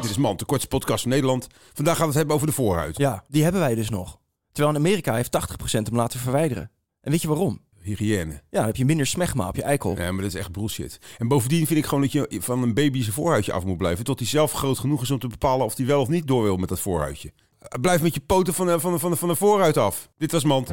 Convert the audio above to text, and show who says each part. Speaker 1: Dit is Man, de kortste podcast van Nederland. Vandaag gaan we het hebben over de voorhuid.
Speaker 2: Ja, die hebben wij dus nog. Terwijl in Amerika heeft 80% hem laten verwijderen. En weet je waarom?
Speaker 1: Hygiëne.
Speaker 2: Ja, dan heb je minder smegma op je eikel.
Speaker 1: Ja, maar dat is echt bullshit. En bovendien vind ik gewoon dat je van een baby zijn voorhuidje af moet blijven. Tot hij zelf groot genoeg is om te bepalen of hij wel of niet door wil met dat voorhuidje. Blijf met je poten van de, van de, van de, van de voorhuid af. Dit was Mand.